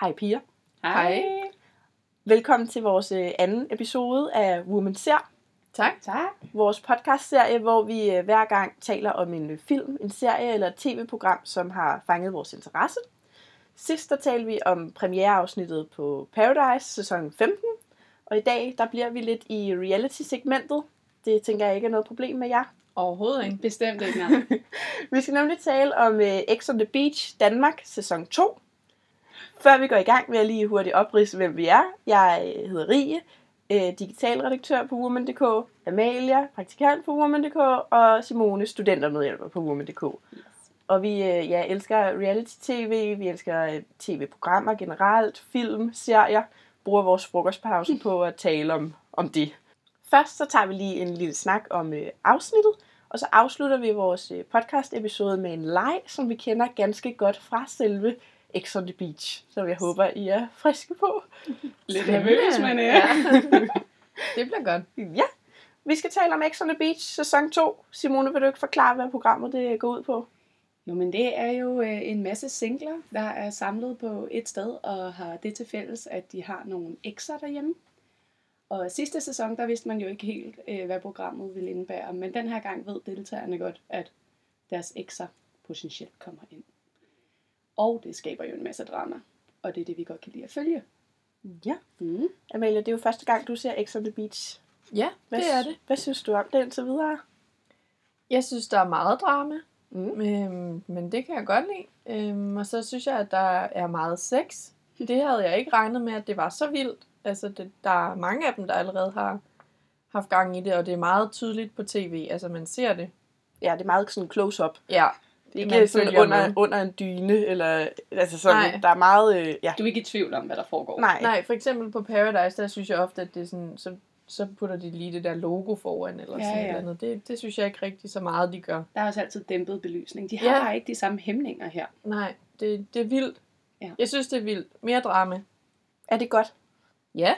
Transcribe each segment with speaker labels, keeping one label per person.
Speaker 1: Hej piger. Velkommen til vores øh, anden episode af Women Ser,
Speaker 2: Tak. Tak.
Speaker 1: vores podcastserie, hvor vi øh, hver gang taler om en øh, film, en serie eller et tv-program, som har fanget vores interesse. Sidst der talte vi om premiereafsnittet på Paradise, sæson 15, og i dag der bliver vi lidt i reality-segmentet. Det tænker jeg ikke er noget problem med jer.
Speaker 2: Overhovedet ikke. Bestemt ikke, nej.
Speaker 1: Vi skal nemlig tale om uh, X on the Beach Danmark sæson 2. Før vi går i gang, vil jeg lige hurtigt oprise, hvem vi er. Jeg øh, hedder Rie, øh, digitalredaktør på Woman.dk, Amalia, praktikant på Woman.dk, og Simone, studentermedhjælper på Woman.dk. Og vi øh, ja, elsker reality-tv, vi elsker øh, tv-programmer generelt, film, serier, bruger vores frokostpause på at tale om, om det. Først så tager vi lige en lille snak om øh, afsnittet, og så afslutter vi vores øh, podcast-episode med en leg, som vi kender ganske godt fra selve X on the Beach, som jeg håber, I er friske på.
Speaker 2: Lidt
Speaker 1: Spændende.
Speaker 2: nervøs, men ja.
Speaker 3: Det bliver godt.
Speaker 1: Ja, vi skal tale om X on the Beach sæson 2. Simone, vil du ikke forklare, hvad programmet det går ud på?
Speaker 2: Jo, men det er jo øh, en masse singler, der er samlet på et sted, og har det til fælles, at de har nogle ekser derhjemme. Og sidste sæson, der vidste man jo ikke helt, øh, hvad programmet ville indebære, men den her gang ved deltagerne godt, at deres ekser potentielt kommer ind. Og det skaber jo en masse drama, og det er det, vi godt kan lide at følge.
Speaker 1: Ja.
Speaker 2: Mm.
Speaker 1: Amalia, det er jo første gang, du ser X on the Beach.
Speaker 3: Ja,
Speaker 1: Hvad,
Speaker 3: det er
Speaker 1: sy-
Speaker 3: det.
Speaker 1: Hvad synes du om det indtil videre?
Speaker 3: Jeg synes, der er meget drama,
Speaker 1: Mm.
Speaker 3: øhm, men det kan jeg godt lide. Øhm, og så synes jeg, at der er meget sex. Det havde jeg ikke regnet med, at det var så vildt. Altså, det, der er mange af dem, der allerede har haft gang i det, og det er meget tydeligt på tv. Altså, man ser det.
Speaker 1: Ja, det er meget sådan close-up.
Speaker 3: Ja,
Speaker 1: Det er
Speaker 3: Man
Speaker 1: ikke sådan
Speaker 3: følger
Speaker 1: under,
Speaker 3: med.
Speaker 1: under en dyne, eller altså sådan,
Speaker 3: Nej.
Speaker 1: der er meget, øh, ja.
Speaker 2: Du er ikke i tvivl om, hvad der foregår.
Speaker 1: Nej,
Speaker 3: nej, for eksempel på Paradise, der synes jeg ofte, at det er sådan, så, så putter de lige det der logo foran, eller
Speaker 2: Ja,
Speaker 3: sådan
Speaker 2: ja.
Speaker 3: et eller andet. Det, det synes jeg ikke rigtig så meget, de gør.
Speaker 2: Der er også altid dæmpet belysning. De
Speaker 3: Ja.
Speaker 2: har ja. ikke de samme hæmninger her.
Speaker 3: Nej, det, det er vildt.
Speaker 2: Ja.
Speaker 3: Jeg synes, det er vildt. Mere drama.
Speaker 1: er det godt?
Speaker 3: Ja.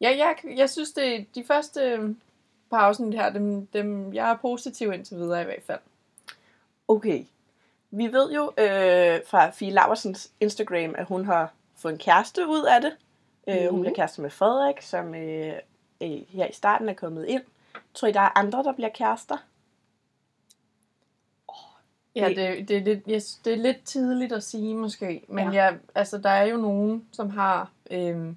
Speaker 3: Ja, jeg, jeg synes, det de første øhm, par afsnit her, dem, dem, jeg er positiv indtil videre i hvert fald.
Speaker 1: Okay. Vi ved jo øh, fra Fie Lauersens Instagram, at hun har fået en kæreste ud af det. Øh, Hun
Speaker 2: Mhm.
Speaker 1: bliver kæreste med Frederik, som øh, øh, her i starten er kommet ind. Tror I, der er andre, der bliver kærester?
Speaker 3: Ja,
Speaker 1: Det-
Speaker 3: det, det, er lidt, jeg, synes, det er lidt tidligt at sige måske, men
Speaker 2: Ja.
Speaker 3: ja. jeg, altså, der er jo nogen, som har øhm,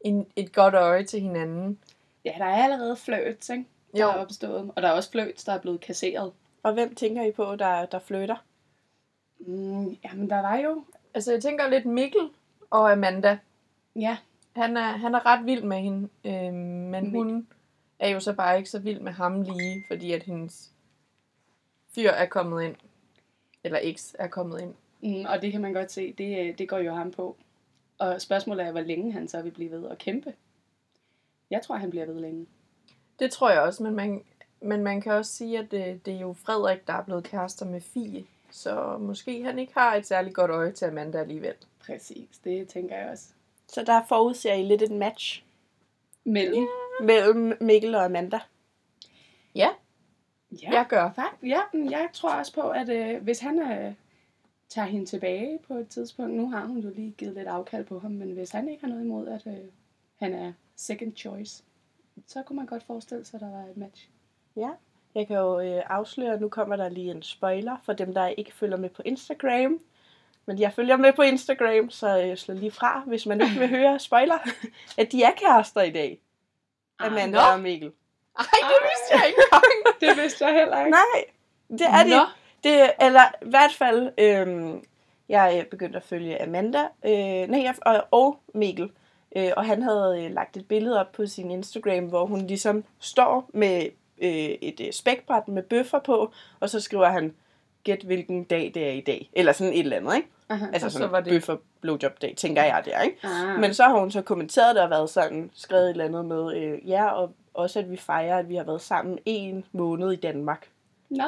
Speaker 3: en, et godt øje til hinanden.
Speaker 2: Ja, der er allerede flirts, ikke? Der
Speaker 3: Jo.
Speaker 2: er opstået. Og der er også flirts, der er blevet kasseret.
Speaker 1: Og hvem tænker I på, der, der flytter?
Speaker 2: Mm, jamen, der var jo...
Speaker 3: Altså, jeg tænker lidt Mikkel og Amanda.
Speaker 2: Ja,
Speaker 3: Han er, han er ret vild med hende, øhm, men
Speaker 2: Mikkel.
Speaker 3: hun er jo så bare ikke så vild med ham lige, fordi at hendes fyr er kommet ind. Eller eks er kommet ind.
Speaker 2: mm, og det kan man godt se. Det, øh, det går jo ham på. Og spørgsmålet er, hvor længe han så vil blive ved at kæmpe. Jeg tror, han bliver ved længe.
Speaker 3: Det tror jeg også, men man, men man kan også sige, at det, det er jo Frederik, der er blevet kærester med Fie. Så måske han ikke har et særligt godt øje til Amanda alligevel.
Speaker 2: Præcis, det tænker jeg også.
Speaker 1: Så der forudser I lidt et match
Speaker 2: Mellem.
Speaker 1: mellem Mikkel og Amanda.
Speaker 2: Ja,
Speaker 3: Ja. Jeg gør.
Speaker 2: Fakt, ja, men jeg tror også på, at øh, hvis han øh, tager hende tilbage på et tidspunkt, nu har hun jo lige givet lidt afkald på ham, men hvis han ikke har noget imod, at øh, han er second choice, så kunne man godt forestille sig, at der var et match.
Speaker 1: Jeg kan jo øh, afsløre, at nu kommer der lige en spoiler for dem, der ikke følger med på Instagram. Men jeg følger med på Instagram, så øh, slå lige fra, hvis man ikke vil høre spoiler, at de er kærester i dag,
Speaker 2: Ah,
Speaker 1: Amanda
Speaker 3: nå.
Speaker 1: og Mikkel.
Speaker 3: Ej, det vidste jeg ikke engang.
Speaker 2: det vidste jeg heller ikke.
Speaker 1: Nej, det er
Speaker 3: Nå,
Speaker 1: de. Det, eller i hvert fald, øh, jeg øh, begyndte at følge Amanda øh, nej, jeg- og, og Mikkel. Øh, og han havde øh, lagt et billede op på sin Instagram, hvor hun ligesom står med øh, et øh, spækbræt med bøffer på, og så skriver han, gæt hvilken dag det er i dag. Eller sådan et eller andet, ikke?
Speaker 2: Aha.
Speaker 1: Altså
Speaker 3: Og så
Speaker 1: sådan
Speaker 3: var det-
Speaker 1: bøffer blowjob dag, tænker jeg det er, ikke?
Speaker 2: Ah.
Speaker 1: Men så har hun så kommenteret det og været sådan, skrevet et eller andet med, øh, ja, og også at vi fejrer, at vi har været sammen en måned i Danmark.
Speaker 2: Nej.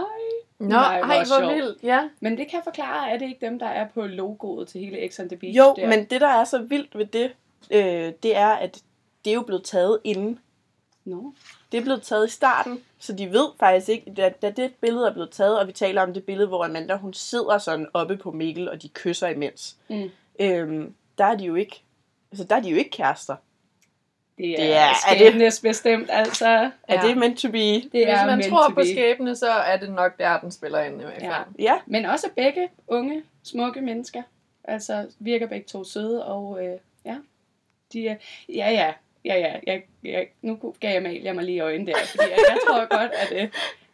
Speaker 3: Nå
Speaker 2: Nej,
Speaker 3: ej,
Speaker 2: hvor
Speaker 3: hvor
Speaker 2: sjovt.
Speaker 3: vildt. Ja.
Speaker 2: Men det kan forklare, er det ikke dem, der er på logoet til hele X on the Beach?
Speaker 1: Jo,
Speaker 2: der?
Speaker 1: men det, der er så vildt ved det, øh, det er, at det er jo blevet taget inden.
Speaker 2: No.
Speaker 1: Det er blevet taget i starten, så de ved faktisk ikke, da, da det billede er blevet taget, og vi taler om det billede, hvor Amanda hun sidder sådan oppe på Mikkel, og de kysser imens.
Speaker 2: Mm.
Speaker 1: Øhm, der er de jo ikke, altså der er de jo ikke kærester.
Speaker 2: Det
Speaker 1: Det er- er
Speaker 2: er
Speaker 1: det-
Speaker 2: skæbnes bestemt, altså.
Speaker 1: Er
Speaker 3: Ja.
Speaker 1: det meant to be?
Speaker 2: Det
Speaker 3: Hvis
Speaker 2: er
Speaker 3: man
Speaker 2: meant
Speaker 3: tror
Speaker 2: to
Speaker 3: på
Speaker 2: be.
Speaker 3: skæbne, så er det nok der, den spiller ind i hvert fald.
Speaker 2: Ja.
Speaker 1: Ja,
Speaker 2: Men også begge unge, smukke mennesker. Altså, virker begge to søde, og øh, ja, de er, ja, ja, ja, ja, jeg, jeg, nu gav Amalie mig lige øjnene der, fordi jeg, jeg tror godt, at, øh,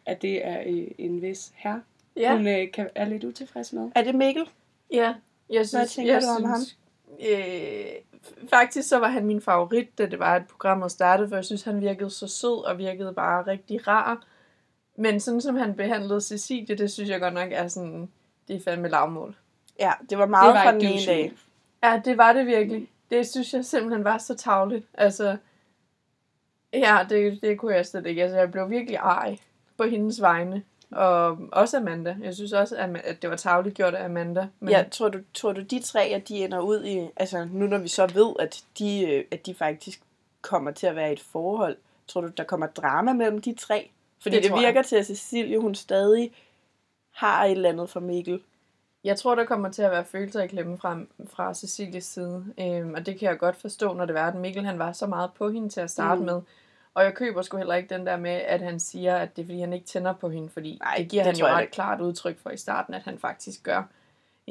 Speaker 2: at det er øh, en vis herre, ja. hun øh, kan, er lidt utilfreds med.
Speaker 1: er det Mikkel?
Speaker 3: ja. Jeg synes,
Speaker 1: tænker
Speaker 3: jeg
Speaker 1: du om
Speaker 3: synes, Øh, faktisk så var han min favorit, da det var, at programmet startede, for jeg synes, han virkede så sød og virkede bare rigtig rar. Men sådan som han behandlede Cecilie, det synes jeg godt nok er sådan, det er fandme lavmål.
Speaker 1: Ja, det var meget
Speaker 2: Det var
Speaker 1: fra
Speaker 2: et
Speaker 1: den ene
Speaker 2: douche.
Speaker 1: dag.
Speaker 3: Ja, det var det virkelig. Mm. Det synes jeg simpelthen var så tavligt. Altså, ja, det, det kunne jeg slet ikke. Altså, jeg blev virkelig ej på hendes vegne. Og også Amanda. Jeg synes også, at ma- at det var tavligt gjort af Amanda. Men
Speaker 1: Ja, tror du, tror du de tre, at de ender ud i, altså nu når vi så ved, at de, øh, at de faktisk kommer til at være i et forhold, tror du, der kommer drama mellem de tre? Fordi det,
Speaker 3: Det
Speaker 1: det
Speaker 3: tror jeg.
Speaker 1: virker til, at Cecilie, hun stadig har et eller andet for Mikkel.
Speaker 3: Jeg tror, der kommer til at være følelser i klemme fra, fra Cecilies side. Øhm, og det kan jeg godt forstå, når det var, at Mikkel han var så meget på hende til at
Speaker 1: Mm.
Speaker 3: starte mm. med. Og jeg køber sgu heller ikke den der med, at han siger, at det er fordi, han ikke tænder på hende. Fordi
Speaker 1: Nej,
Speaker 3: Nej, det giver
Speaker 1: det
Speaker 3: det han jo
Speaker 1: tror jeg
Speaker 3: ret
Speaker 1: ikke.
Speaker 3: klart udtryk for i starten, at han faktisk gør.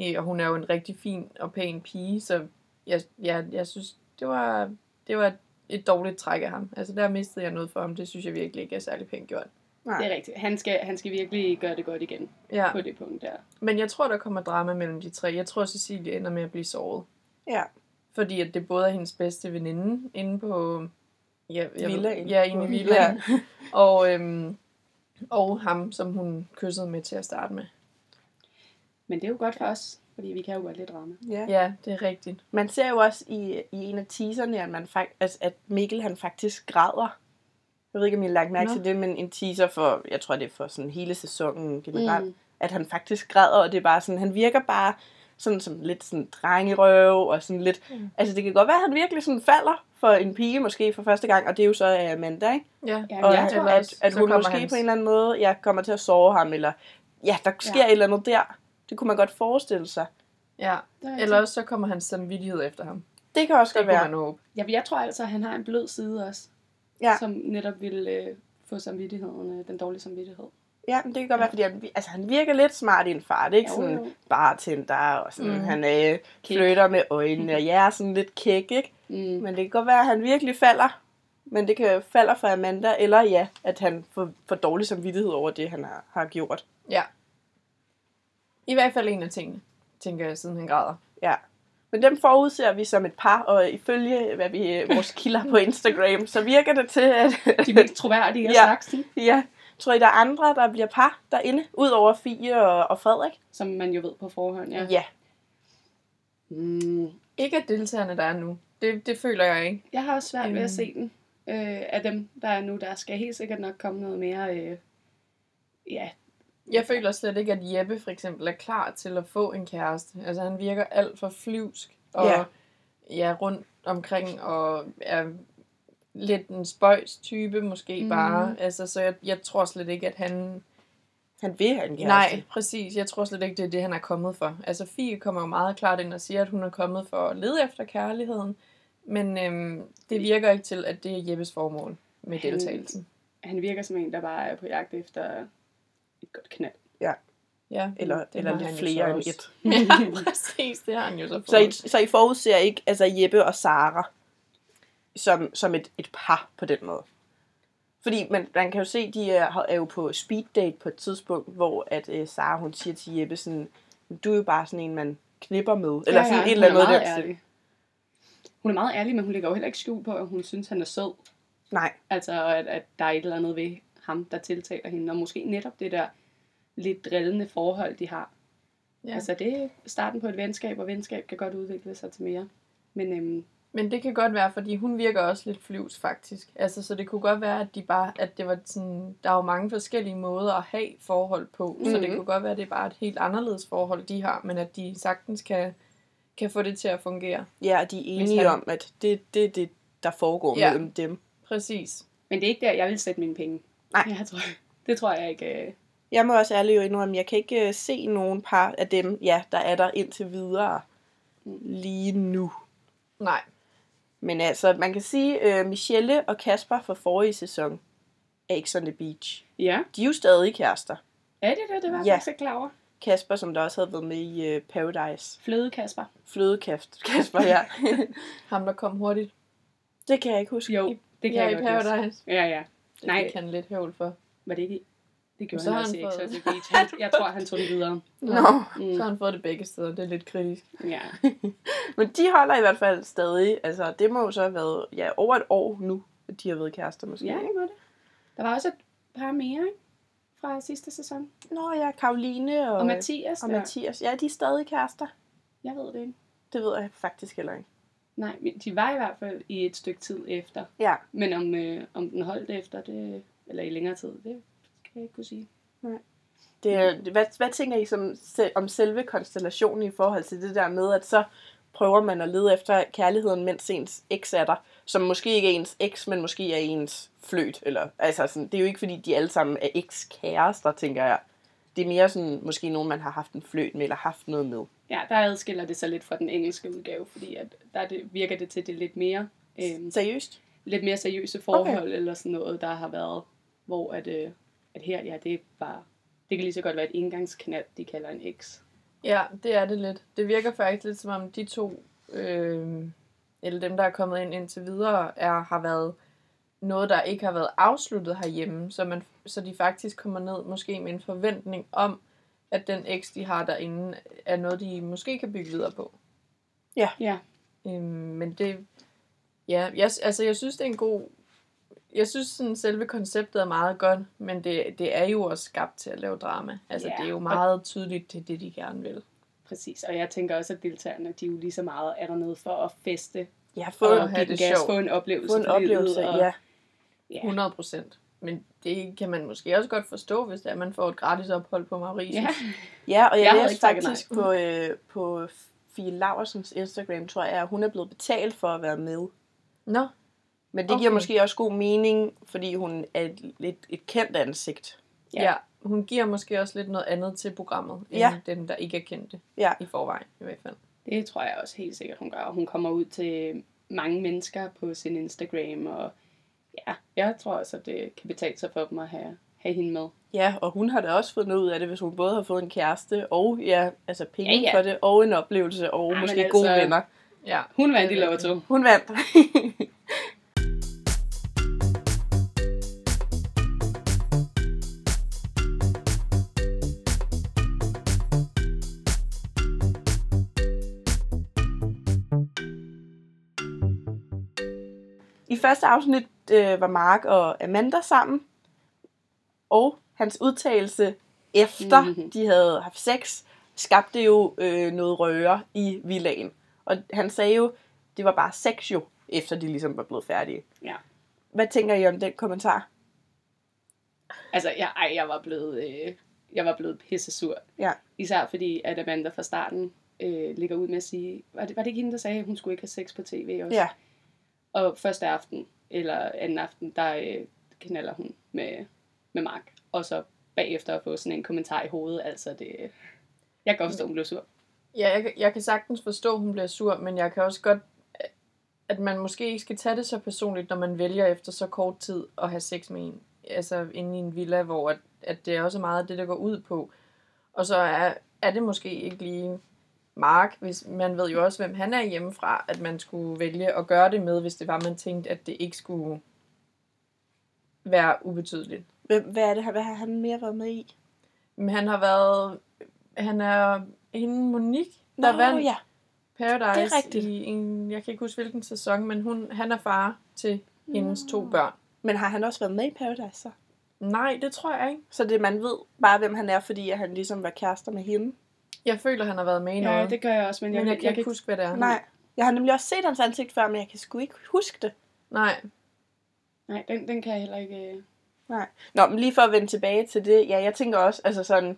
Speaker 3: Øh, og hun er jo en rigtig fin og pæn pige, så jeg, jeg, jeg synes, det var, det var et dårligt træk af ham. Altså der mistede jeg noget for ham. Det synes jeg virkelig ikke er særlig pænt gjort.
Speaker 1: Nej.
Speaker 2: Det er rigtigt. Han skal, han skal virkelig gøre det godt igen
Speaker 3: Ja.
Speaker 2: på det punkt der.
Speaker 3: Men jeg tror, der kommer drama mellem de tre. Jeg tror, Cecilie ender med at blive såret.
Speaker 1: Ja.
Speaker 3: Fordi at det både er hendes bedste veninde inde på... Ja, jeg
Speaker 1: Villaen.
Speaker 3: Ja, inde i villaen. og, øhm, og ham, som hun kyssede med til at starte med.
Speaker 2: Men det er jo godt for os, fordi vi kan jo godt lidt drama.
Speaker 1: Ja.
Speaker 3: Ja, det er rigtigt.
Speaker 1: Man ser jo også i, i en af teaserne, at, man fak- altså, at Mikkel han faktisk græder. Jeg ved ikke, om I har lagt mærke
Speaker 3: Nå.
Speaker 1: til det, men en teaser for, jeg tror det er for sådan hele sæsonen generelt, mm. at han faktisk græder, og det er bare sådan, han virker bare sådan som lidt sådan drengerøv, og sådan lidt, mm.
Speaker 3: Mm.
Speaker 1: altså det kan godt være, at han virkelig sådan falder for en pige måske for første gang, og det er jo så øh, Amanda, ikke?
Speaker 3: Ja.
Speaker 2: Ja,
Speaker 1: Og
Speaker 2: jeg
Speaker 1: at,
Speaker 2: tror
Speaker 3: eller
Speaker 1: at,
Speaker 3: også,
Speaker 1: at
Speaker 3: så
Speaker 1: hun
Speaker 3: kommer
Speaker 1: måske
Speaker 3: hans-
Speaker 1: på en eller anden måde, jeg kommer til at sove ham, eller ja, der sker ja.
Speaker 2: Ja.
Speaker 1: et eller andet der. Det kunne man godt forestille sig.
Speaker 3: ja.
Speaker 2: Der er
Speaker 3: Eller også så kommer hans samvittighed efter ham.
Speaker 1: Det kan også
Speaker 3: Det
Speaker 1: godt
Speaker 3: kunne
Speaker 1: være.
Speaker 3: man håbe.
Speaker 2: Ja, jeg tror altså, at han har en blød side også,
Speaker 1: Ja.
Speaker 2: ja. som netop vil øh, få samvittigheden, øh, den dårlige samvittighed.
Speaker 1: Ja, men det kan godt være, fordi han, vi- altså, han virker lidt smart i en fart, ikke?
Speaker 2: Jo,
Speaker 1: sådan
Speaker 2: jo.
Speaker 1: bartender, og sådan, mm.
Speaker 3: Mm.
Speaker 1: han øh, flytter med øjnene, og ja, sådan lidt kæk, ikke?
Speaker 2: Mm.
Speaker 1: Men det kan godt være, at han virkelig falder. Men det kan falder for Amanda, eller ja, at han får, får dårlig samvittighed over det, han har, har gjort.
Speaker 3: Ja. I hvert fald en af tingene, tænker jeg, siden han græder.
Speaker 1: Ja. Men dem forudser vi som et par, og ifølge hvad vi, vores kilder på Instagram, så virker det til, at
Speaker 2: De mest troværdige af
Speaker 1: Ja.
Speaker 2: ja. slagsen,
Speaker 1: ja, tror I, der er andre, der bliver par derinde, udover Fie og, og Frederik?
Speaker 2: som man jo ved på forhånd. Ja.
Speaker 1: ja.
Speaker 2: Mm.
Speaker 3: Ikke af deltagerne, der er nu. Det, det føler jeg ikke.
Speaker 2: Jeg har også svært ved
Speaker 3: Øhm.
Speaker 2: at se den øh, af dem, der er nu. Der skal helt sikkert nok komme noget mere... Øh, ja,
Speaker 3: Jeg føler slet ikke, at Jeppe for eksempel er klar til at få en kæreste. Altså han virker alt for flyvsk og
Speaker 1: Ja.
Speaker 3: ja. Ja, rundt omkring og er lidt en spøjs type måske mm.
Speaker 2: Mhm.
Speaker 3: bare. Altså, så jeg, jeg tror slet ikke, at han...
Speaker 1: Han vil have en kæreste.
Speaker 3: Nej, præcis. Jeg tror slet ikke, det er det, han er kommet for. Altså Fie kommer jo meget klart ind og siger, at hun er kommet for at lede efter kærligheden. Men øhm, det virker ikke til, at det er Jeppes formål med
Speaker 2: Han-
Speaker 3: deltagelsen.
Speaker 2: han virker som en, der bare er på jagt efter et godt knald.
Speaker 3: Ja,
Speaker 1: Eller,
Speaker 3: det
Speaker 1: eller
Speaker 3: har han
Speaker 1: lidt
Speaker 3: jo
Speaker 1: flere
Speaker 3: så
Speaker 1: end
Speaker 3: også.
Speaker 1: et.
Speaker 3: Ja, præcis. Det har han jo så fået.
Speaker 1: Så I, så I forudser ikke altså Jeppe og Sara som, som et, et par på den måde? Fordi man, man kan jo se, de er, har- er jo på speed date på et tidspunkt, hvor at øh, Sara hun siger til Jeppe sådan, du er jo bare sådan en, man knipper med. Eller sådan et eller
Speaker 2: hun er
Speaker 1: andet. i den
Speaker 2: meget
Speaker 1: stil.
Speaker 2: ærlig. Hun er meget ærlig, men hun lægger jo heller ikke skjul på, at hun synes, han er sød.
Speaker 1: Nej,
Speaker 2: Altså, at, at der er et eller andet ved ham, der tiltaler hende. Og måske netop det der lidt drillende forhold, de har. Ja.
Speaker 3: Ja.
Speaker 2: Altså, det er starten på et venskab, og venskab kan godt udvikle sig til mere. Men øhm,
Speaker 3: Men det kan godt være, fordi hun virker også lidt flyvs faktisk. Altså, så det kunne godt være, at, de bare, at det var sådan, der er jo mange forskellige måder at have forhold på. Mm-hmm. Så det
Speaker 1: Mhm.
Speaker 3: kunne godt være, at det er bare et helt anderledes forhold, de har, men at de sagtens kan, kan få det til at fungere.
Speaker 1: ja, og de er enige
Speaker 3: han-
Speaker 1: om, at det det, er det, der foregår ja.
Speaker 3: Ja.
Speaker 1: mellem dem.
Speaker 3: Præcis.
Speaker 2: Men det er ikke der, jeg vil sætte mine penge.
Speaker 1: Nej.
Speaker 2: Jeg tror, det tror jeg ikke. øh.
Speaker 1: Jeg må også ærligt jo indrømme, jeg kan ikke øh, se nogen par af dem, ja, der er der indtil videre. lige nu.
Speaker 3: Nej.
Speaker 1: Men altså, man kan sige, øh, Michelle og Kasper fra forrige sæson af X on the Beach,
Speaker 2: Ja.
Speaker 1: de er jo stadig kærester.
Speaker 2: Er det det? Det var jeg
Speaker 1: Ja.
Speaker 2: faktisk ikke klar over.
Speaker 1: Kasper, som der også havde været med i øh, Paradise.
Speaker 2: Fløde Kasper.
Speaker 1: Flødekast, Kasper, ja.
Speaker 3: Ham, der kom hurtigt.
Speaker 1: det kan jeg ikke huske.
Speaker 2: Jo, det kan
Speaker 3: ja,
Speaker 2: jeg
Speaker 3: i
Speaker 2: godt huske.
Speaker 3: Paradise.
Speaker 2: Ja, ja.
Speaker 3: Det
Speaker 2: Nej.
Speaker 3: fik han lidt høvl for.
Speaker 2: Var det ikke i- det gjorde
Speaker 3: Så
Speaker 2: han
Speaker 3: har
Speaker 2: også
Speaker 3: han
Speaker 2: i X
Speaker 3: fået-
Speaker 2: on the Beach. Han, jeg tror, han tog det videre.
Speaker 1: Nå.
Speaker 2: Mm.
Speaker 3: Så har han fået det begge steder. Det er lidt kritisk.
Speaker 2: Ja.
Speaker 1: Men de holder i hvert fald stadig. Altså, det må jo så have været ja, over et år nu, at de har været kærester måske.
Speaker 2: Ja,
Speaker 1: ikke?
Speaker 2: det var det. Der var også et par mere, ikke? Fra sidste sæson.
Speaker 1: Nå ja, Karoline og, øh,
Speaker 2: Og Mathias.
Speaker 1: og
Speaker 2: der.
Speaker 1: Mathias. Ja, de er stadig kærester.
Speaker 2: Jeg ved det ikke.
Speaker 1: Det ved jeg faktisk heller ikke.
Speaker 2: Nej, men de var i hvert fald i et stykke tid efter.
Speaker 1: Ja.
Speaker 2: Men om, øh, om den holdt efter, det, eller i længere tid, det kan jeg ikke kunne sige.
Speaker 1: Det,
Speaker 2: Mm.
Speaker 1: er- hvad, hvad tænker I som, se- om selve konstellationen i forhold til det der med, at så prøver man at lede efter kærligheden, mens ens eks er der, som måske ikke er ens eks, men måske er ens fløt. Eller, altså sådan, det er jo ikke, fordi de alle sammen er ekskærester, tænker jeg. Det er mere sådan, måske nogen, man har haft en fløt med, eller haft noget med.
Speaker 2: Ja, der adskiller det sig lidt fra den engelske udgave, fordi at der er det, virker det til det lidt mere, øh,
Speaker 1: Seriøst?
Speaker 2: lidt mere seriøse forhold, okay. eller sådan noget, der har været, hvor at, øh, at her, ja, det er bare, det kan lige så godt være et engangsknald, de kalder en X.
Speaker 3: Ja, det er det lidt. Det virker faktisk lidt som om de to, øh, eller dem, der er kommet ind indtil videre, er, har været noget, der ikke har været afsluttet herhjemme, så, man, så de faktisk kommer ned måske med en forventning om, at den eks, de har derinde, er noget, de måske kan bygge videre på.
Speaker 2: Ja,
Speaker 3: Øhm, men det, ja, jeg, altså jeg synes, det er en god, jeg synes sådan, selve konceptet er meget godt, men det, det er jo også skabt til at lave drama. Altså
Speaker 2: Ja,
Speaker 3: det er jo
Speaker 2: og-
Speaker 3: meget tydeligt, det er det, de gerne vil.
Speaker 2: præcis. Og jeg tænker også, at deltagerne, de er jo lige så meget, er der noget for at feste,
Speaker 1: Jeg har
Speaker 2: og
Speaker 1: fået
Speaker 3: at
Speaker 2: give
Speaker 3: have
Speaker 2: den
Speaker 3: det
Speaker 2: gas,
Speaker 3: sjovt.
Speaker 2: få en oplevelse.
Speaker 1: Få en
Speaker 2: for livet,
Speaker 1: oplevelse,
Speaker 2: og,
Speaker 1: ja.
Speaker 2: ja.
Speaker 3: 100 procent. Men det kan man måske også godt forstå, hvis det er, at man får et gratis ophold på Mauritius.
Speaker 2: Ja.
Speaker 1: Ja, og jeg,
Speaker 2: Jeg
Speaker 1: jeg
Speaker 2: havde
Speaker 1: læste
Speaker 2: ikke takket nej.
Speaker 1: faktisk på, øh, på Fie Laursens Instagram, tror jeg, at hun er blevet betalt for at være med.
Speaker 3: Nå,
Speaker 1: Men det okay. giver
Speaker 3: Okay.
Speaker 1: måske også god mening, fordi hun er et, lidt et kendt ansigt.
Speaker 2: Ja.
Speaker 3: ja. ja. Hun giver måske også lidt noget andet til programmet, end
Speaker 1: Ja.
Speaker 3: ja. dem, der ikke er kendte
Speaker 1: Ja.
Speaker 3: i forvejen i hvert fald.
Speaker 2: Det tror jeg også helt sikkert, hun gør. Og hun kommer ud til mange mennesker på sin Instagram, og ja, jeg tror også, at det kan betale sig for dem at have, have hende med.
Speaker 1: Ja, og hun har da også fået noget ud af det, hvis hun både har fået en kæreste og ja, altså penge
Speaker 2: Ja,
Speaker 1: ja,
Speaker 2: ja.
Speaker 1: ja. for det, og en oplevelse, og ja,
Speaker 2: Ja, men
Speaker 1: måske
Speaker 2: altså-
Speaker 1: altså... gode venner.
Speaker 3: Ja.
Speaker 2: Hun vandt i
Speaker 3: Det er rigtigt.
Speaker 2: lotto.
Speaker 1: Hun vandt. I første afsnit øh, var Mark og Amanda sammen, og hans udtalelse efter
Speaker 2: Mhm.
Speaker 1: mm-hmm. de havde haft sex, skabte jo øh, noget røre i villaen. Og han sagde jo, det var bare sex jo, efter de ligesom var blevet færdige.
Speaker 2: Ja.
Speaker 1: Hvad tænker I om den kommentar?
Speaker 2: Altså, jeg, ej, jeg var blevet, øh, jeg var blevet pissesur.
Speaker 1: Ja.
Speaker 2: Især fordi, at Amanda fra starten øh, ligger ud med at sige, var det, var det ikke hende, der sagde, at hun skulle ikke have sex på tv også?
Speaker 1: Ja.
Speaker 2: Og første aften, eller anden aften, der øh, knaller hun med, med Mark. Og så bagefter at få sådan en kommentar i hovedet, altså det... Jeg kan godt forstå, hun blev sur.
Speaker 3: Ja, jeg, kan- jeg kan sagtens forstå, at hun bliver sur, men jeg kan også godt, at man måske ikke skal tage det så personligt, når man vælger efter så kort tid at have sex med en. Altså inde i en villa, hvor at, at det er også meget det, der går ud på. Og så er, er det måske ikke lige Mark, hvis man ved jo også, hvem han er hjemmefra, at man skulle vælge at gøre det med, hvis det var, man tænkte, at det ikke skulle være ubetydeligt.
Speaker 1: Hvem, hvad, er det, hvad har han mere været med i?
Speaker 3: Men han har været, han er hende Monique, der
Speaker 1: Nå,
Speaker 3: vandt
Speaker 1: ja.
Speaker 3: Paradise
Speaker 1: Det er rigtigt.
Speaker 3: i en, jeg kan ikke huske hvilken sæson, men hun, han er far til hendes to børn.
Speaker 1: Men har han også været med i Paradise så?
Speaker 3: Nej, det tror jeg ikke.
Speaker 1: Så det, man ved bare, hvem han er, fordi at han ligesom var kærester med hende.
Speaker 3: Jeg føler, han har været med i noget,
Speaker 2: Ja, det gør jeg også, men
Speaker 3: men
Speaker 2: jeg,
Speaker 3: jeg,
Speaker 2: men
Speaker 3: kan ikke huske, hvad det er.
Speaker 1: Nej. Jeg har nemlig også set hans ansigt før, men jeg kan sgu ikke huske det.
Speaker 3: Nej.
Speaker 2: Nej, den, den kan jeg heller ikke... øh.
Speaker 1: Nej. Nå, men lige for at vende tilbage til det, ja, jeg tænker også, altså sådan,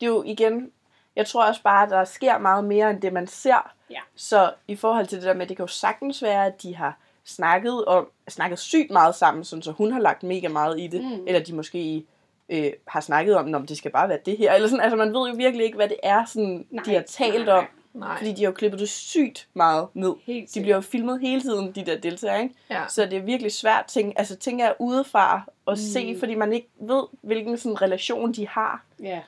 Speaker 1: det er jo igen, jeg tror også bare, at der sker meget mere, end det man ser.
Speaker 2: Ja.
Speaker 1: Så i forhold til det der med, det kan jo sagtens være, at de har snakket, om, snakket sygt meget sammen, sådan, så hun har lagt mega meget i det,
Speaker 2: Mm.
Speaker 1: mm. eller de måske øh, har snakket om, om det skal bare være det her, eller sådan, altså man ved jo virkelig ikke, hvad det er, sådan,
Speaker 2: Nej,
Speaker 1: de har talt
Speaker 2: nej,
Speaker 1: om,
Speaker 2: nej.
Speaker 3: Nej.
Speaker 1: Fordi de har jo klippet det sygt meget ned.
Speaker 2: Helt
Speaker 1: De
Speaker 2: sikkert.
Speaker 1: bliver jo filmet hele tiden, de der deltagere, ikke?
Speaker 3: Ja.
Speaker 1: Så det er virkelig svært, ting, altså tænker jeg udefra at se,
Speaker 2: Mm.
Speaker 1: fordi man ikke ved, hvilken sådan, relation de har.
Speaker 2: Ja.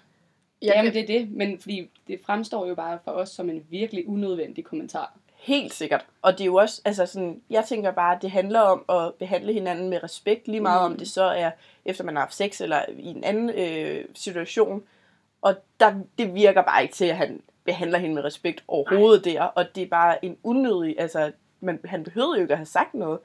Speaker 3: Jeg
Speaker 2: Jamen,
Speaker 3: kan-
Speaker 2: det er det, men fordi det fremstår jo bare for os som en virkelig unødvendig kommentar.
Speaker 1: Helt sikkert. Og det er jo også, altså sådan, jeg tænker bare, at det handler om at behandle hinanden med respekt, lige meget mm. om
Speaker 2: Mm.
Speaker 1: det så er, efter man har haft sex, eller i en anden øh, situation. Og der, det virker bare ikke til, at han behandler hende med respekt overhovedet der, og det er bare en unødig, altså man, han behøvede jo ikke at have sagt noget. Og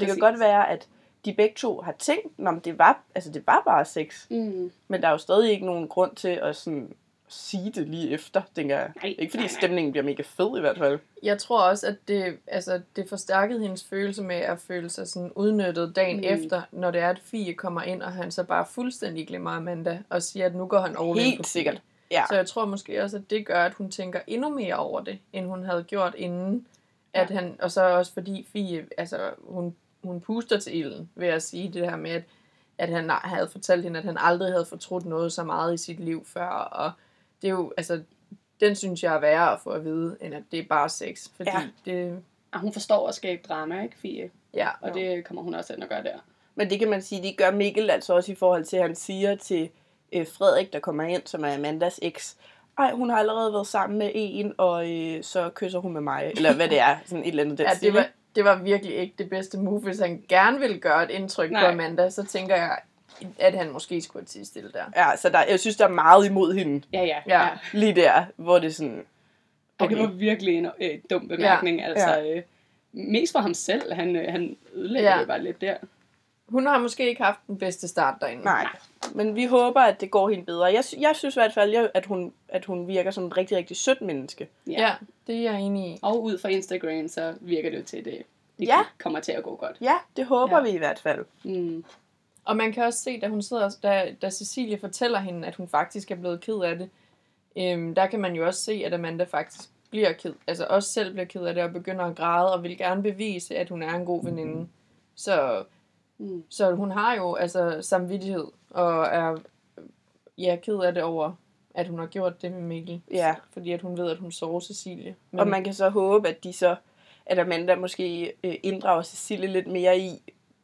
Speaker 1: det Præcis.
Speaker 2: Præcis.
Speaker 1: kan godt være, at de begge to har tænkt, om det var, altså det var bare sex.
Speaker 2: Mm.
Speaker 1: Men der er jo stadig ikke nogen grund til at sådan sige det lige efter, tænker jeg.
Speaker 2: Nej,
Speaker 1: ikke fordi
Speaker 2: nej, nej.
Speaker 1: stemningen bliver mega fed i hvert fald.
Speaker 3: Jeg tror også, at det, altså, det forstærkede hendes følelse med at føle sig sådan udnyttet dagen
Speaker 2: Mm.
Speaker 3: mm. efter, når det er, at Fie kommer ind, og han så bare fuldstændig glemmer Amanda og siger, at nu går han over
Speaker 1: Helt sikkert. Ja.
Speaker 3: Så jeg tror måske også, at det gør, at hun tænker endnu mere over det, end hun havde gjort inden.
Speaker 2: Ja.
Speaker 3: At han, og så også fordi Fie, altså, hun, hun puster til ilden ved at sige det her med, at, at han havde fortalt hende, at han aldrig havde fortrudt noget så meget i sit liv før. Og det er jo, altså, den synes jeg er værre at få at vide, end at det er bare sex. Fordi
Speaker 1: Ja.
Speaker 3: ja. det,
Speaker 2: Og hun forstår at skabe drama, ikke, Fie?
Speaker 3: ja,
Speaker 2: Og det kommer hun også ind og gøre der.
Speaker 1: Men det kan man sige, det gør Mikkel altså også i forhold til, at han siger til øh, Frederik, der kommer ind, som er Amandas eks, ej, hun har allerede været sammen med en, og øh, så kysser hun med mig, eller hvad det er, sådan et eller andet. den
Speaker 3: ja,
Speaker 1: stil,
Speaker 3: det, var,
Speaker 1: ikke?
Speaker 3: det var virkelig ikke det bedste move. Hvis han gerne ville gøre et indtryk Nej. på
Speaker 2: Nej.
Speaker 3: Amanda, så tænker jeg, at han måske skulle have tidet stille der.
Speaker 1: Ja, så der, jeg synes, der er meget imod hende
Speaker 2: Ja, ja.
Speaker 3: Ja.
Speaker 1: lige der, hvor det er sådan...
Speaker 2: Okay.
Speaker 1: Okay.
Speaker 2: Det var virkelig en øh, dum bemærkning. Ja. Altså, ja. Øh, mest for ham selv. Han, øh, han ødelægger ja.
Speaker 3: Ja.
Speaker 2: det bare lidt der.
Speaker 3: Hun har måske ikke haft den bedste start derinde.
Speaker 1: Nej. Men vi håber, at det går hende bedre. Jeg, sy- jeg synes i hvert fald, jeg- at hun, at hun virker som et rigtig, rigtig sødt menneske.
Speaker 2: Ja.
Speaker 3: Ja, det er jeg enig i.
Speaker 2: Og ud fra Instagram, så virker det jo til, at det, det
Speaker 1: Ja.
Speaker 2: kommer til at gå godt.
Speaker 1: Ja, det håber
Speaker 2: Ja.
Speaker 1: ja. vi i hvert fald.
Speaker 2: Mm.
Speaker 3: Og man kan også se, da hun sidder, da, da Cecilie fortæller hende, at hun faktisk er blevet ked af det, øhm, der kan man jo også se, at Amanda faktisk bliver ked, altså også selv bliver ked af det og begynder at græde og vil gerne bevise, at hun er en god veninde. Så,
Speaker 2: Mm.
Speaker 3: så hun har jo altså samvittighed og er ja, ked af det over, at hun har gjort det med Mikkel.
Speaker 1: Ja.
Speaker 3: Fordi at hun ved, at hun sover Cecilie.
Speaker 1: Men... Og man kan så håbe, at de så, at Amanda måske øh, inddrager Cecilie lidt mere i,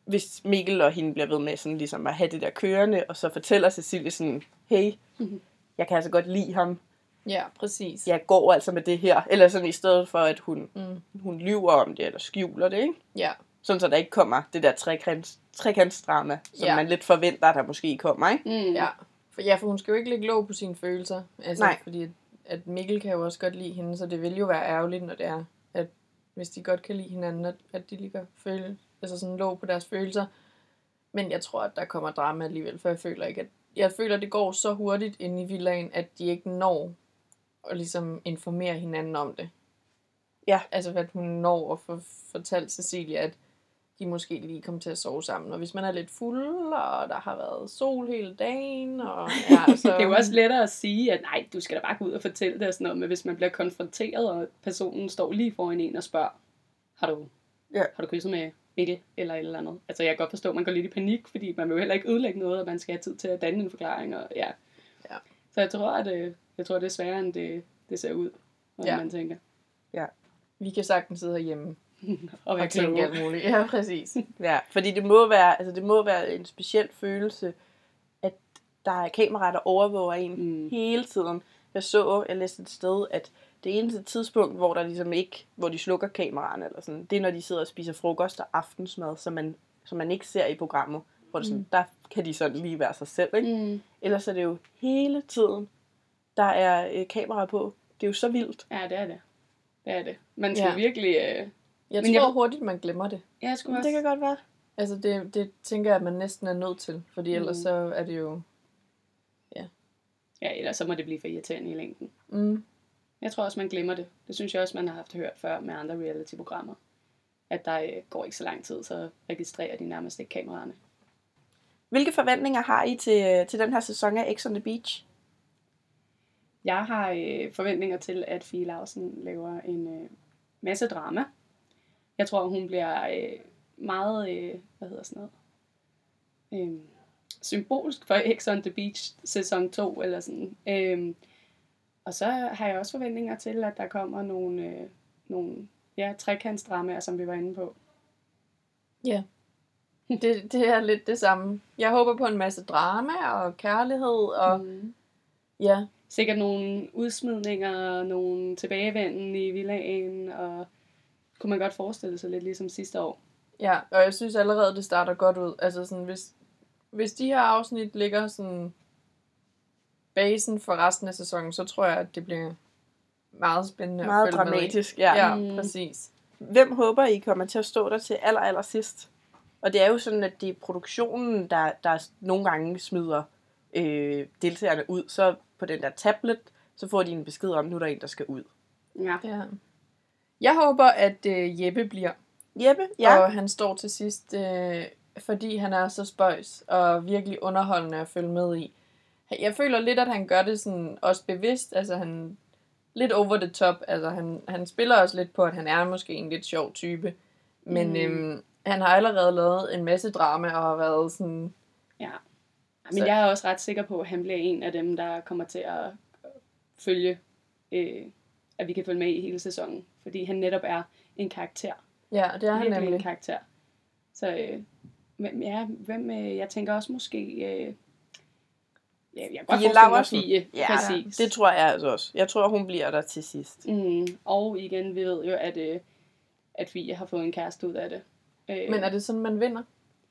Speaker 1: hvis Mikkel og hende bliver ved med sådan ligesom at have det der kørende, og så fortæller Cecilie sådan, hey,
Speaker 3: Mm-hmm.
Speaker 2: Mhm.
Speaker 1: jeg kan altså godt lide ham,
Speaker 3: Ja, præcis.
Speaker 1: jeg går altså med det her. Eller sådan i stedet for, at hun,
Speaker 3: Mm.
Speaker 1: hun lyver om det, eller skjuler det, ikke?
Speaker 3: Ja.
Speaker 1: Sådan så der ikke kommer det der trekants, trekantsdrama, som
Speaker 3: Ja.
Speaker 1: man lidt forventer, der måske kommer, ikke?
Speaker 2: Mm.
Speaker 3: Ja, for, ja, for hun skal jo ikke lægge låg på sine følelser. Altså,
Speaker 1: Nej.
Speaker 3: Fordi at, at Mikkel kan jo også godt lide hende, så det vil jo være ærgerligt, når det er, at hvis de godt kan lide hinanden, at, at de ligger føle, altså sådan låg på deres følelser. Men jeg tror, at der kommer drama alligevel, for jeg føler ikke, at jeg føler, at det går så hurtigt inde i villaen, at de ikke når at ligesom informere hinanden om det.
Speaker 1: Ja.
Speaker 3: Altså, at hun når at få fortalt Cecilia, at de måske lige kom til at sove sammen. Og hvis man er lidt fuld, og der har været sol hele dagen, og ja, så...
Speaker 2: Det er jo også lettere at sige, at nej, du skal da bare gå ud og fortælle det og sådan noget, men hvis man bliver konfronteret, og personen står lige foran en og spørger, har du,
Speaker 1: Ja.
Speaker 2: har du kysset med Mikkel eller et eller andet? Altså jeg kan godt forstå, at man går lidt i panik, fordi man vil jo heller ikke ødelægge noget, og man skal have tid til at danne en forklaring. Og, ja.
Speaker 3: Ja.
Speaker 2: Så jeg tror, at øh, jeg tror, det er sværere, end det, det ser ud, når ja.
Speaker 3: Ja.
Speaker 2: man tænker.
Speaker 3: Vi kan sagtens sidde herhjemme
Speaker 2: Og
Speaker 3: og tænke alt muligt. Ja, præcis.
Speaker 1: Ja, fordi det må være, altså det må være en speciel følelse, at der er kameraer, der overvåger en
Speaker 2: Mm.
Speaker 1: mm. hele tiden. Jeg så, jeg læste et sted, at det eneste tidspunkt, hvor der ligesom ikke, hvor de slukker kameraerne eller sådan, det er, når de sidder og spiser frokost og aftensmad, som man, som man ikke ser i programmet. Hvor det er sådan, mm. der kan de sådan lige være sig selv, ikke? Mm.
Speaker 2: Mm.
Speaker 1: Ellers er det jo hele tiden, der er øh, kameraer på. Det er jo så vildt.
Speaker 2: Ja, det er det. Det er det. Man skal ja.
Speaker 3: Ja.
Speaker 2: virkelig... Øh,
Speaker 3: Jeg
Speaker 2: Men
Speaker 3: tror
Speaker 2: jeg-
Speaker 3: jeg... hurtigt, man glemmer det.
Speaker 2: ja, jeg skulle også...
Speaker 1: Det kan godt være.
Speaker 3: Altså, det, det tænker jeg, at man næsten er nødt til. Fordi ellers
Speaker 2: Mm.
Speaker 3: så er det jo...
Speaker 2: Ja, ellers så må det blive for irriterende i længden.
Speaker 3: Mm,
Speaker 2: Jeg tror også, man glemmer det. Det synes jeg også, man har haft hørt før med andre reality-programmer. At der øh, går ikke så lang tid, så registrerer de nærmest ikke kameraerne.
Speaker 1: Hvilke forventninger har I til, til den her sæson af X on the Beach?
Speaker 2: Jeg har øh, forventninger til, at Fie Lausen laver en øh, masse drama. Jeg tror, hun bliver øh, meget, øh, hvad hedder sådan noget, øh, symbolsk for X on the Beach sæson 2, eller sådan. Øh, Og så har jeg også forventninger til, at der kommer nogle, øh, nogle ja, trekantsdramaer, som vi var inde på.
Speaker 3: Det, det er lidt det samme. Jeg håber på en masse drama og kærlighed og mm.
Speaker 2: Mm.
Speaker 3: ja,
Speaker 2: Sikkert nogle udsmidninger, nogle tilbagevenden i villaen, og kunne man godt forestille sig lidt ligesom sidste år.
Speaker 3: ja. Og jeg synes allerede, det starter godt ud. Altså sådan, hvis, hvis de her afsnit ligger sådan basen for resten af sæsonen, så tror jeg, at det bliver meget spændende at
Speaker 1: Meget
Speaker 3: følge med i.
Speaker 1: dramatisk, ja.
Speaker 3: Ja,
Speaker 2: Mm.
Speaker 3: ja præcis.
Speaker 1: Hvem håber I kommer til at stå der til aller, aller sidst? Og det er jo sådan, at det er produktionen, der, der nogle gange smider øh, deltagerne ud. Så på den der tablet, så får de en besked om, nu er der en, der skal ud.
Speaker 2: Ja.
Speaker 3: Ja. Jeg håber, at øh, Jeppe bliver,
Speaker 1: Jeppe, ja.
Speaker 3: ja. og han står til sidst, øh, fordi han er så spøjs og virkelig underholdende at følge med i. Jeg føler lidt, at han gør det sådan også bevidst, altså han lidt over the top, altså han, han spiller også lidt på, at han er måske en lidt sjov type, men
Speaker 2: Mm.
Speaker 3: mm. øhm, han har allerede lavet en masse drama og har været sådan,
Speaker 2: Men
Speaker 3: Så-
Speaker 2: jeg er også ret sikker på, at han bliver en af dem, der kommer til at følge, øh, at vi kan følge med i hele sæsonen. Fordi han netop er en karakter.
Speaker 3: ja, det er han
Speaker 2: virkelig en
Speaker 3: nemlig.
Speaker 2: karakter. Så øh, hvem, ja, hvem, øh, jeg tænker også måske... Øh, ja, jeg kan godt
Speaker 1: Fie
Speaker 2: forestille mig
Speaker 1: Laursen.
Speaker 2: Fie,
Speaker 1: Ja,
Speaker 2: præcis.
Speaker 1: Det tror jeg altså også. Jeg tror, hun bliver der til sidst.
Speaker 2: mm, og igen, vi ved jo, at, øh, at Fie har fået en kæreste ud af det. Øh,
Speaker 3: Men er det sådan, man vinder?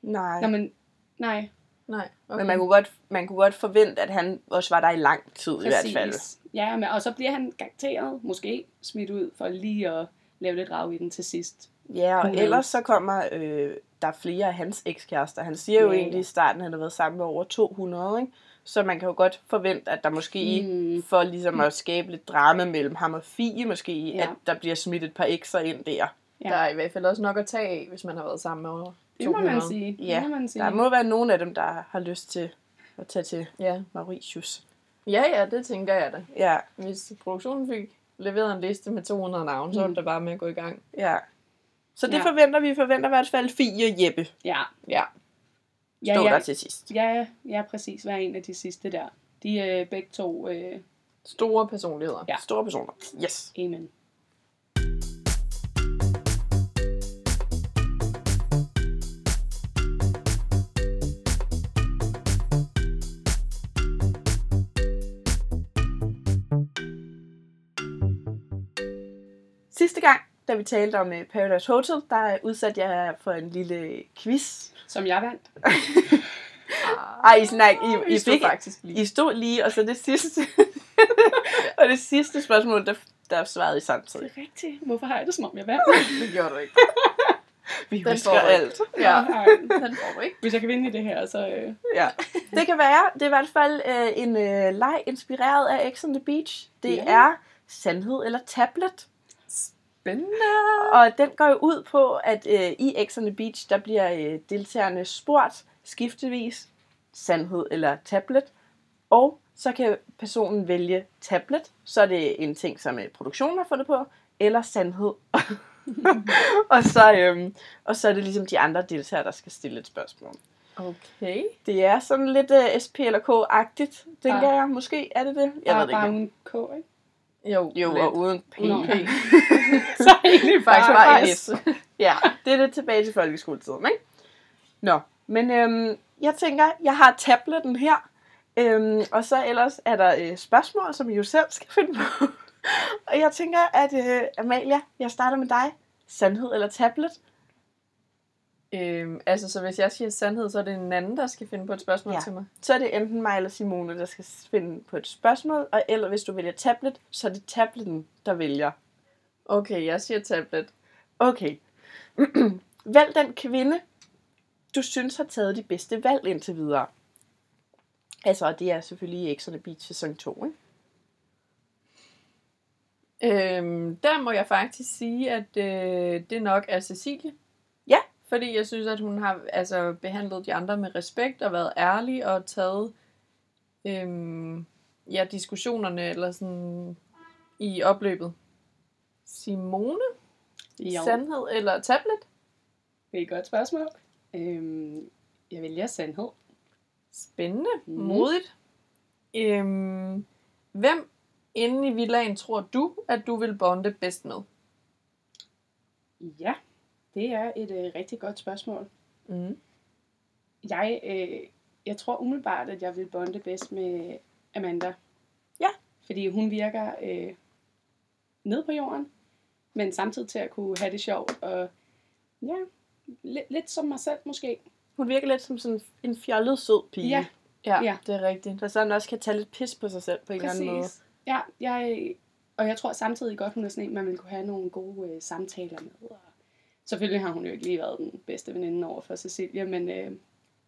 Speaker 1: Nej.
Speaker 2: Nå, men, nej,
Speaker 3: Nej. Okay.
Speaker 1: Okay. Men man kunne, godt, man kunne godt forvente, at han også var der i lang tid Præcis. i
Speaker 2: præcis.
Speaker 1: hvert fald.
Speaker 2: Ja, men, og så bliver han garanteret, måske smidt ud, for lige at lave lidt rav i den til sidst.
Speaker 1: Ja, og
Speaker 2: Who
Speaker 1: ellers
Speaker 2: knows?
Speaker 1: så kommer øh, der er flere af hans ekskærester. Han siger jo
Speaker 2: Ja, ja.
Speaker 1: egentlig i starten, at han har været sammen med over 200, ikke? Så man kan jo godt forvente, at der måske, mm.
Speaker 2: Mm.
Speaker 1: for ligesom at skabe lidt drama mellem ham og Fie måske, ja.
Speaker 2: Ja.
Speaker 1: at der bliver smidt et par ekstra ind der.
Speaker 2: Ja.
Speaker 3: Der er i hvert fald også nok at tage af, hvis man har været sammen med over
Speaker 2: Det må man
Speaker 3: 200.
Speaker 2: sige.
Speaker 1: Ja,
Speaker 2: det må man sige.
Speaker 1: Der må være nogen af dem, der har lyst til at tage til
Speaker 3: Ja.
Speaker 1: Mauritius.
Speaker 3: Ja, ja, det tænker jeg da.
Speaker 1: Ja,
Speaker 3: Hvis produktionen fik leveret en liste med 200 navne, mm. så var det da bare med at gå i gang.
Speaker 1: ja. Så det ja.
Speaker 2: Ja.
Speaker 1: forventer vi. Vi forventer i hvert fald Fie og Jeppe står
Speaker 2: Ja,
Speaker 3: Ja.
Speaker 2: ja,
Speaker 1: der
Speaker 2: ja,
Speaker 1: til sidst.
Speaker 2: ja, ja, præcis. Hver en af de sidste der. De er øh, begge to øh,
Speaker 3: Store personligheder.
Speaker 2: Ja.
Speaker 1: Store personer. Yes.
Speaker 2: Amen.
Speaker 1: Sidste gang, da vi talte om øh, Paradise Hotel, der øh, udsatte jeg jer for en lille quiz.
Speaker 2: Som jeg vandt.
Speaker 1: Ej, I snak, Ah, I, I,
Speaker 3: Vi stod
Speaker 1: fik,
Speaker 3: faktisk lige.
Speaker 1: I stod lige, og så det sidste, og det sidste spørgsmål, der, der svarede I samtidig.
Speaker 2: er rigtigt. Hvorfor har jeg det, som om jeg vandt?
Speaker 3: Det gjorde du ikke.
Speaker 1: Vi
Speaker 3: Den
Speaker 1: husker
Speaker 3: får du
Speaker 1: alt.
Speaker 3: ikke. Ja.
Speaker 2: Nej.
Speaker 3: Den får du ikke.
Speaker 2: Hvis jeg kan vinde i det her, så... Øh,
Speaker 1: Ja. Det kan være, det er i hvert fald øh, en øh, leg inspireret af X on the Beach. Det
Speaker 2: Ja.
Speaker 1: er sandhed eller tablet.
Speaker 3: Spændende.
Speaker 1: Og den går jo ud på, at øh, i X on the Beach, der bliver øh, deltagerne spurgt skiftevis sandhed eller tablet. Og så kan personen vælge tablet, så er det en ting, som øh, produktionen har fundet på, eller sandhed. og, så, øhm, og så er det ligesom de andre deltagere, der skal stille et spørgsmål.
Speaker 3: Okay.
Speaker 1: Det er sådan lidt øh, SP eller K-agtigt, tænker
Speaker 2: Bare-
Speaker 1: jeg. Måske er det det? Jeg
Speaker 2: bare,
Speaker 1: ved det
Speaker 2: bare
Speaker 1: ikke.
Speaker 2: uden K, ikke?
Speaker 3: Jo,
Speaker 1: Jo,
Speaker 3: lidt.
Speaker 1: og uden P.
Speaker 2: Nå.
Speaker 3: P.
Speaker 2: så er jeg egentlig
Speaker 3: Faktisk
Speaker 2: bare...
Speaker 1: Bare
Speaker 3: bare
Speaker 1: S.
Speaker 3: S.
Speaker 1: Ja, det er lidt tilbage til folkeskoletiden, ikke? Nå, men øhm, jeg tænker, jeg har tabletten her, øhm, og så ellers er der øh, spørgsmål, som I jo selv skal finde på. og jeg tænker, at øh, Amalia, jeg starter med dig. Sandhed eller tablet?
Speaker 3: Øhm, altså, så hvis jeg siger sandhed, så er det en anden, der skal finde på et spørgsmål
Speaker 1: Ja.
Speaker 3: ja. til mig.
Speaker 1: Så er det enten mig eller Simone, der skal finde på et spørgsmål, og eller hvis du vælger tablet, så er det tabletten, der vælger.
Speaker 3: Okay, jeg siger tablet.
Speaker 1: Okay. Vælg den kvinde, du synes har taget de bedste valg indtil videre. Altså, og det er selvfølgelig i X on the Beach sæson 2, ikke?
Speaker 3: Øhm, der må jeg faktisk sige, at øh, det nok er Cecilie.
Speaker 1: Ja.
Speaker 3: Fordi jeg synes, at hun har altså, behandlet de andre med respekt og været ærlig og taget øhm, ja, diskussionerne eller sådan i opløbet. Simone?
Speaker 2: Jo,
Speaker 3: Sandhed eller tablet?
Speaker 2: det er et godt spørgsmål. Øhm, jeg vælger sandhed.
Speaker 3: Spændende.
Speaker 2: Mm.
Speaker 3: Modigt. Øhm, hvem inde i villaen tror du, at du vil bonde bedst med?
Speaker 2: Ja, det er et øh, rigtig godt spørgsmål.
Speaker 3: Mm.
Speaker 2: Jeg, øh, jeg tror umiddelbart, at jeg vil bonde bedst med Amanda.
Speaker 1: Ja.
Speaker 2: Fordi hun virker øh, ned på jorden, men samtidig til at kunne have det sjovt. Og ja, lidt, lidt som mig selv måske.
Speaker 1: Hun virker lidt som sådan en fjollet sød pige.
Speaker 2: Ja,
Speaker 3: Ja,
Speaker 2: Ja.
Speaker 3: ja, det er rigtigt.
Speaker 1: Der sådan også kan tage lidt pis på sig selv på en eller anden måde.
Speaker 2: præcis. Ja, jeg, og jeg tror samtidig godt, hun er sådan en, man vil kunne have nogle gode øh, samtaler med. Og selvfølgelig har hun jo ikke lige været den bedste veninde over for Cecilia, men øh,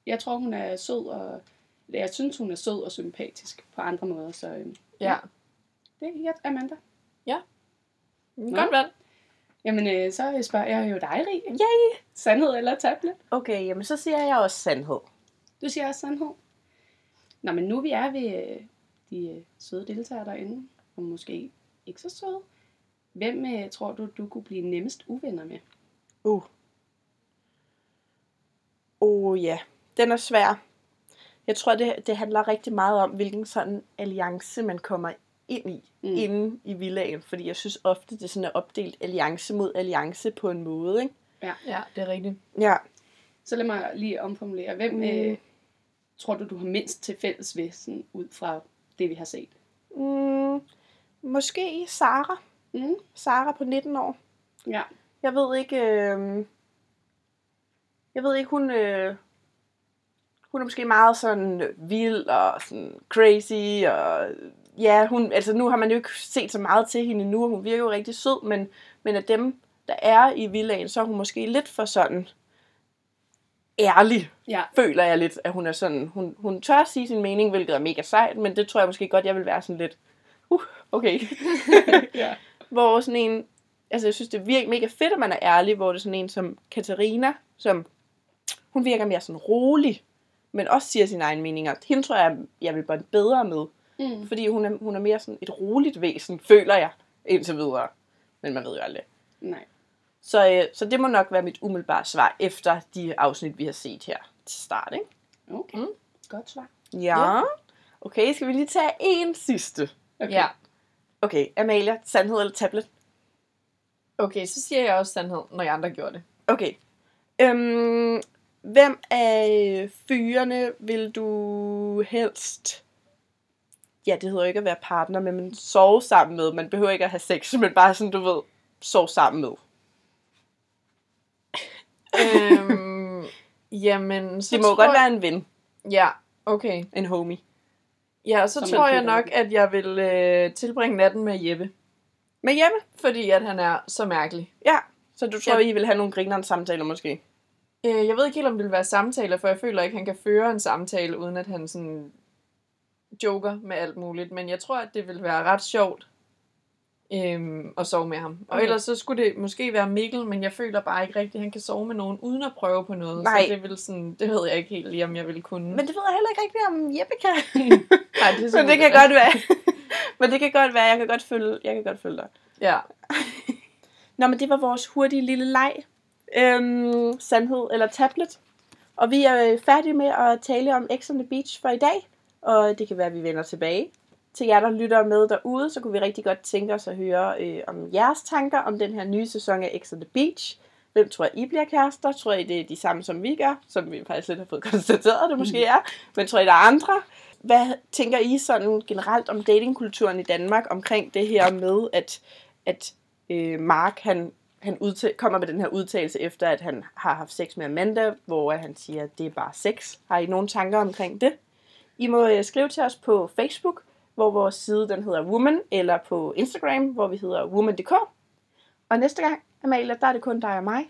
Speaker 2: jeg tror, hun er sød, og eller jeg synes, hun er sød og sympatisk på andre måder, så øh,
Speaker 3: Ja.
Speaker 2: det er jeg, Amanda.
Speaker 3: Mm. Godt valg.
Speaker 2: Jamen, øh, så spørger jeg jo dig, Rie.
Speaker 1: Yay!
Speaker 2: Sandhed eller tablet?
Speaker 1: Okay, jamen så siger jeg også sandhed.
Speaker 2: Du siger også sandhed. Nå, men nu vi er ved øh, de øh, søde deltagere derinde, og måske ikke så søde, hvem øh, tror du, du kunne blive nemmest uvenner med?
Speaker 1: Uh. Oh ja, den er svær. Jeg tror, det, det handler rigtig meget om, hvilken sådan alliance man kommer ind i, mm.
Speaker 2: Mm.
Speaker 1: inde i villaen. Fordi jeg synes ofte, det sådan er opdelt alliance mod alliance på en måde, ikke?
Speaker 3: Ja, det er rigtigt.
Speaker 1: Ja.
Speaker 2: Så lad mig lige omformulere. Hvem
Speaker 1: Mm.
Speaker 2: øh, tror du, du har mindst til fælles ved, sådan, ud fra det, vi har set?
Speaker 1: Mm, måske Sara.
Speaker 2: Mm.
Speaker 1: Sara på 19 år.
Speaker 2: Ja.
Speaker 1: Jeg ved ikke... Øh, jeg ved ikke, hun... Øh, hun er måske meget sådan vild og sådan crazy og... Ja, hun, altså nu har man jo ikke set så meget til hende nu, og hun virker jo rigtig sød, men, men af dem, der er i villaen, så er hun måske lidt for sådan ærlig,
Speaker 2: Ja.
Speaker 1: føler jeg lidt, at hun er sådan, hun, hun tør sige sin mening, hvilket er mega sejt, men det tror jeg måske godt, jeg vil være sådan lidt, uh, okay.
Speaker 2: ja.
Speaker 1: hvor sådan en, altså jeg synes, det er virkelig mega fedt, at man er ærlig, hvor det er sådan en som Katarina, som, hun virker mere sådan rolig, men også siger sine egne meninger. Hende tror jeg, jeg vil bonde bedre med,
Speaker 2: Mm.
Speaker 1: fordi hun er, hun er mere sådan et roligt væsen, føler jeg, indtil videre. Men man ved jo aldrig.
Speaker 2: Nej.
Speaker 1: Så, øh, så det må nok være mit umiddelbare svar efter de afsnit, vi har set her til start, ikke?
Speaker 2: Okay.
Speaker 3: Mm.
Speaker 2: Mm. Godt svar.
Speaker 1: Ja. Okay, skal vi lige tage en sidste?
Speaker 2: Okay.
Speaker 3: Ja.
Speaker 1: Okay, Amalia, sandhed eller tablet?
Speaker 3: Okay, så siger jeg også sandhed, når jeg andre gjorde det.
Speaker 1: Okay. Øhm, hvem af fyrene vil du helst... Ja, det hedder jo ikke at være partner med, men sove sammen med. Man behøver ikke at have sex, men bare sådan, du ved, sove sammen med.
Speaker 3: øhm, jamen, så
Speaker 1: Det må
Speaker 3: tror
Speaker 1: godt
Speaker 3: jeg...
Speaker 1: være en ven,
Speaker 3: Ja, okay.
Speaker 1: en homie.
Speaker 3: Ja, så
Speaker 2: Som
Speaker 3: tror
Speaker 2: man
Speaker 3: jeg
Speaker 2: kunne
Speaker 3: nok, at jeg vil øh, tilbringe natten med Jeppe.
Speaker 1: Men hjemme?
Speaker 3: Fordi at han er så mærkelig.
Speaker 1: Ja. Så du tror,
Speaker 3: Ja.
Speaker 1: I vil have nogle grinerende samtaler måske?
Speaker 3: Øh, jeg ved ikke helt, om det vil være samtaler, for jeg føler ikke, han kan føre en samtale, uden at han sådan joker med alt muligt. Men jeg tror, at det vil være ret sjovt øhm, at sove med ham. Og
Speaker 1: Okay.
Speaker 3: ellers så skulle det måske være Mikkel, men jeg føler bare ikke rigtigt, at han kan sove med nogen, uden at prøve på noget.
Speaker 1: Nej.
Speaker 3: Så det, vil sådan, det ved jeg ikke helt lige, om jeg ville kunne.
Speaker 1: Men det ved jeg heller ikke rigtigt, om Jeppe kan.
Speaker 3: Nej, det, er
Speaker 1: Så
Speaker 3: sådan-
Speaker 1: det kan godt være. men det kan godt være, jeg kan godt følge, jeg kan godt følge dig.
Speaker 3: Ja.
Speaker 1: Nå, men det var vores hurtige lille leg. Øhm, sandhed eller tablet. Og vi er øh, færdige med at tale om X on the Beach for i dag. Og det kan være, at vi vender tilbage. Til jer, der lytter med derude, så kunne vi rigtig godt tænke os at høre øh, om jeres tanker om den her nye sæson af X on the Beach. Hvem tror I bliver kærester? Tror I, det er de samme, som vi gør? Som vi faktisk lidt har fået konstateret, det måske er. Men tror I, der er andre? Hvad tænker I sådan generelt om datingkulturen i Danmark? Omkring det her med, at, at øh, Mark, han, han udta- kommer med den her udtalelse efter, at han har haft sex med Amanda, hvor han siger, at det er bare sex. Har I nogen tanker omkring det? I må øh, skrive til os på Facebook, hvor vores side den hedder Woman, eller på Instagram, hvor vi hedder woman.dk. Og næste gang, Amalie, der er det kun dig og mig,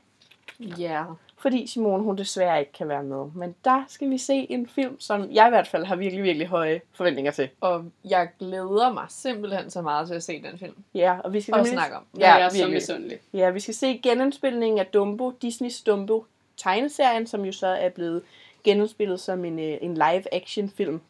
Speaker 3: Ja.
Speaker 1: fordi Simone hun desværre ikke kan være med. Men der skal vi se en film, som jeg i hvert fald har virkelig, virkelig høje forventninger til.
Speaker 3: Og jeg glæder mig simpelthen så meget til at se den film.
Speaker 1: Ja, og vi skal
Speaker 3: Og
Speaker 1: nemlig-
Speaker 3: snakke om. den.
Speaker 2: Ja, jeg er så
Speaker 1: virkelig.
Speaker 2: misundelig.
Speaker 1: Ja, vi skal se genindspilningen af Dumbo, Disney's Dumbo tegneserien, som jo så er blevet genindspillet som en, øh, en live-action film.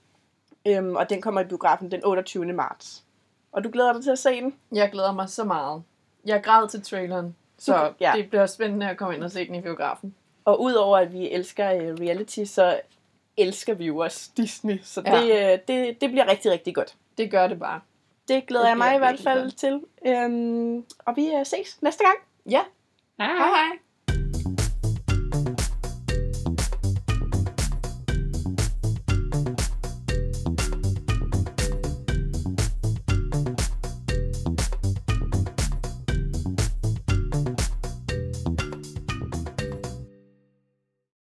Speaker 1: Øhm, og den kommer i biografen den 28. marts. Og du glæder dig til at se den?
Speaker 3: Jeg glæder mig så meget. Jeg græd til traileren, så
Speaker 1: Ja.
Speaker 3: ja. det bliver spændende at komme ind og se den i biografen.
Speaker 1: Og udover at vi elsker øh, reality, så elsker vi jo også Disney. Så det, øh, det, det bliver rigtig, rigtig godt.
Speaker 3: Det gør det bare.
Speaker 1: Det glæder
Speaker 3: Det
Speaker 1: jeg mig i
Speaker 3: bliver
Speaker 1: hvert
Speaker 3: virkelig
Speaker 1: fald til. Øhm, og vi øh, ses næste gang.
Speaker 3: Ja, hej hej.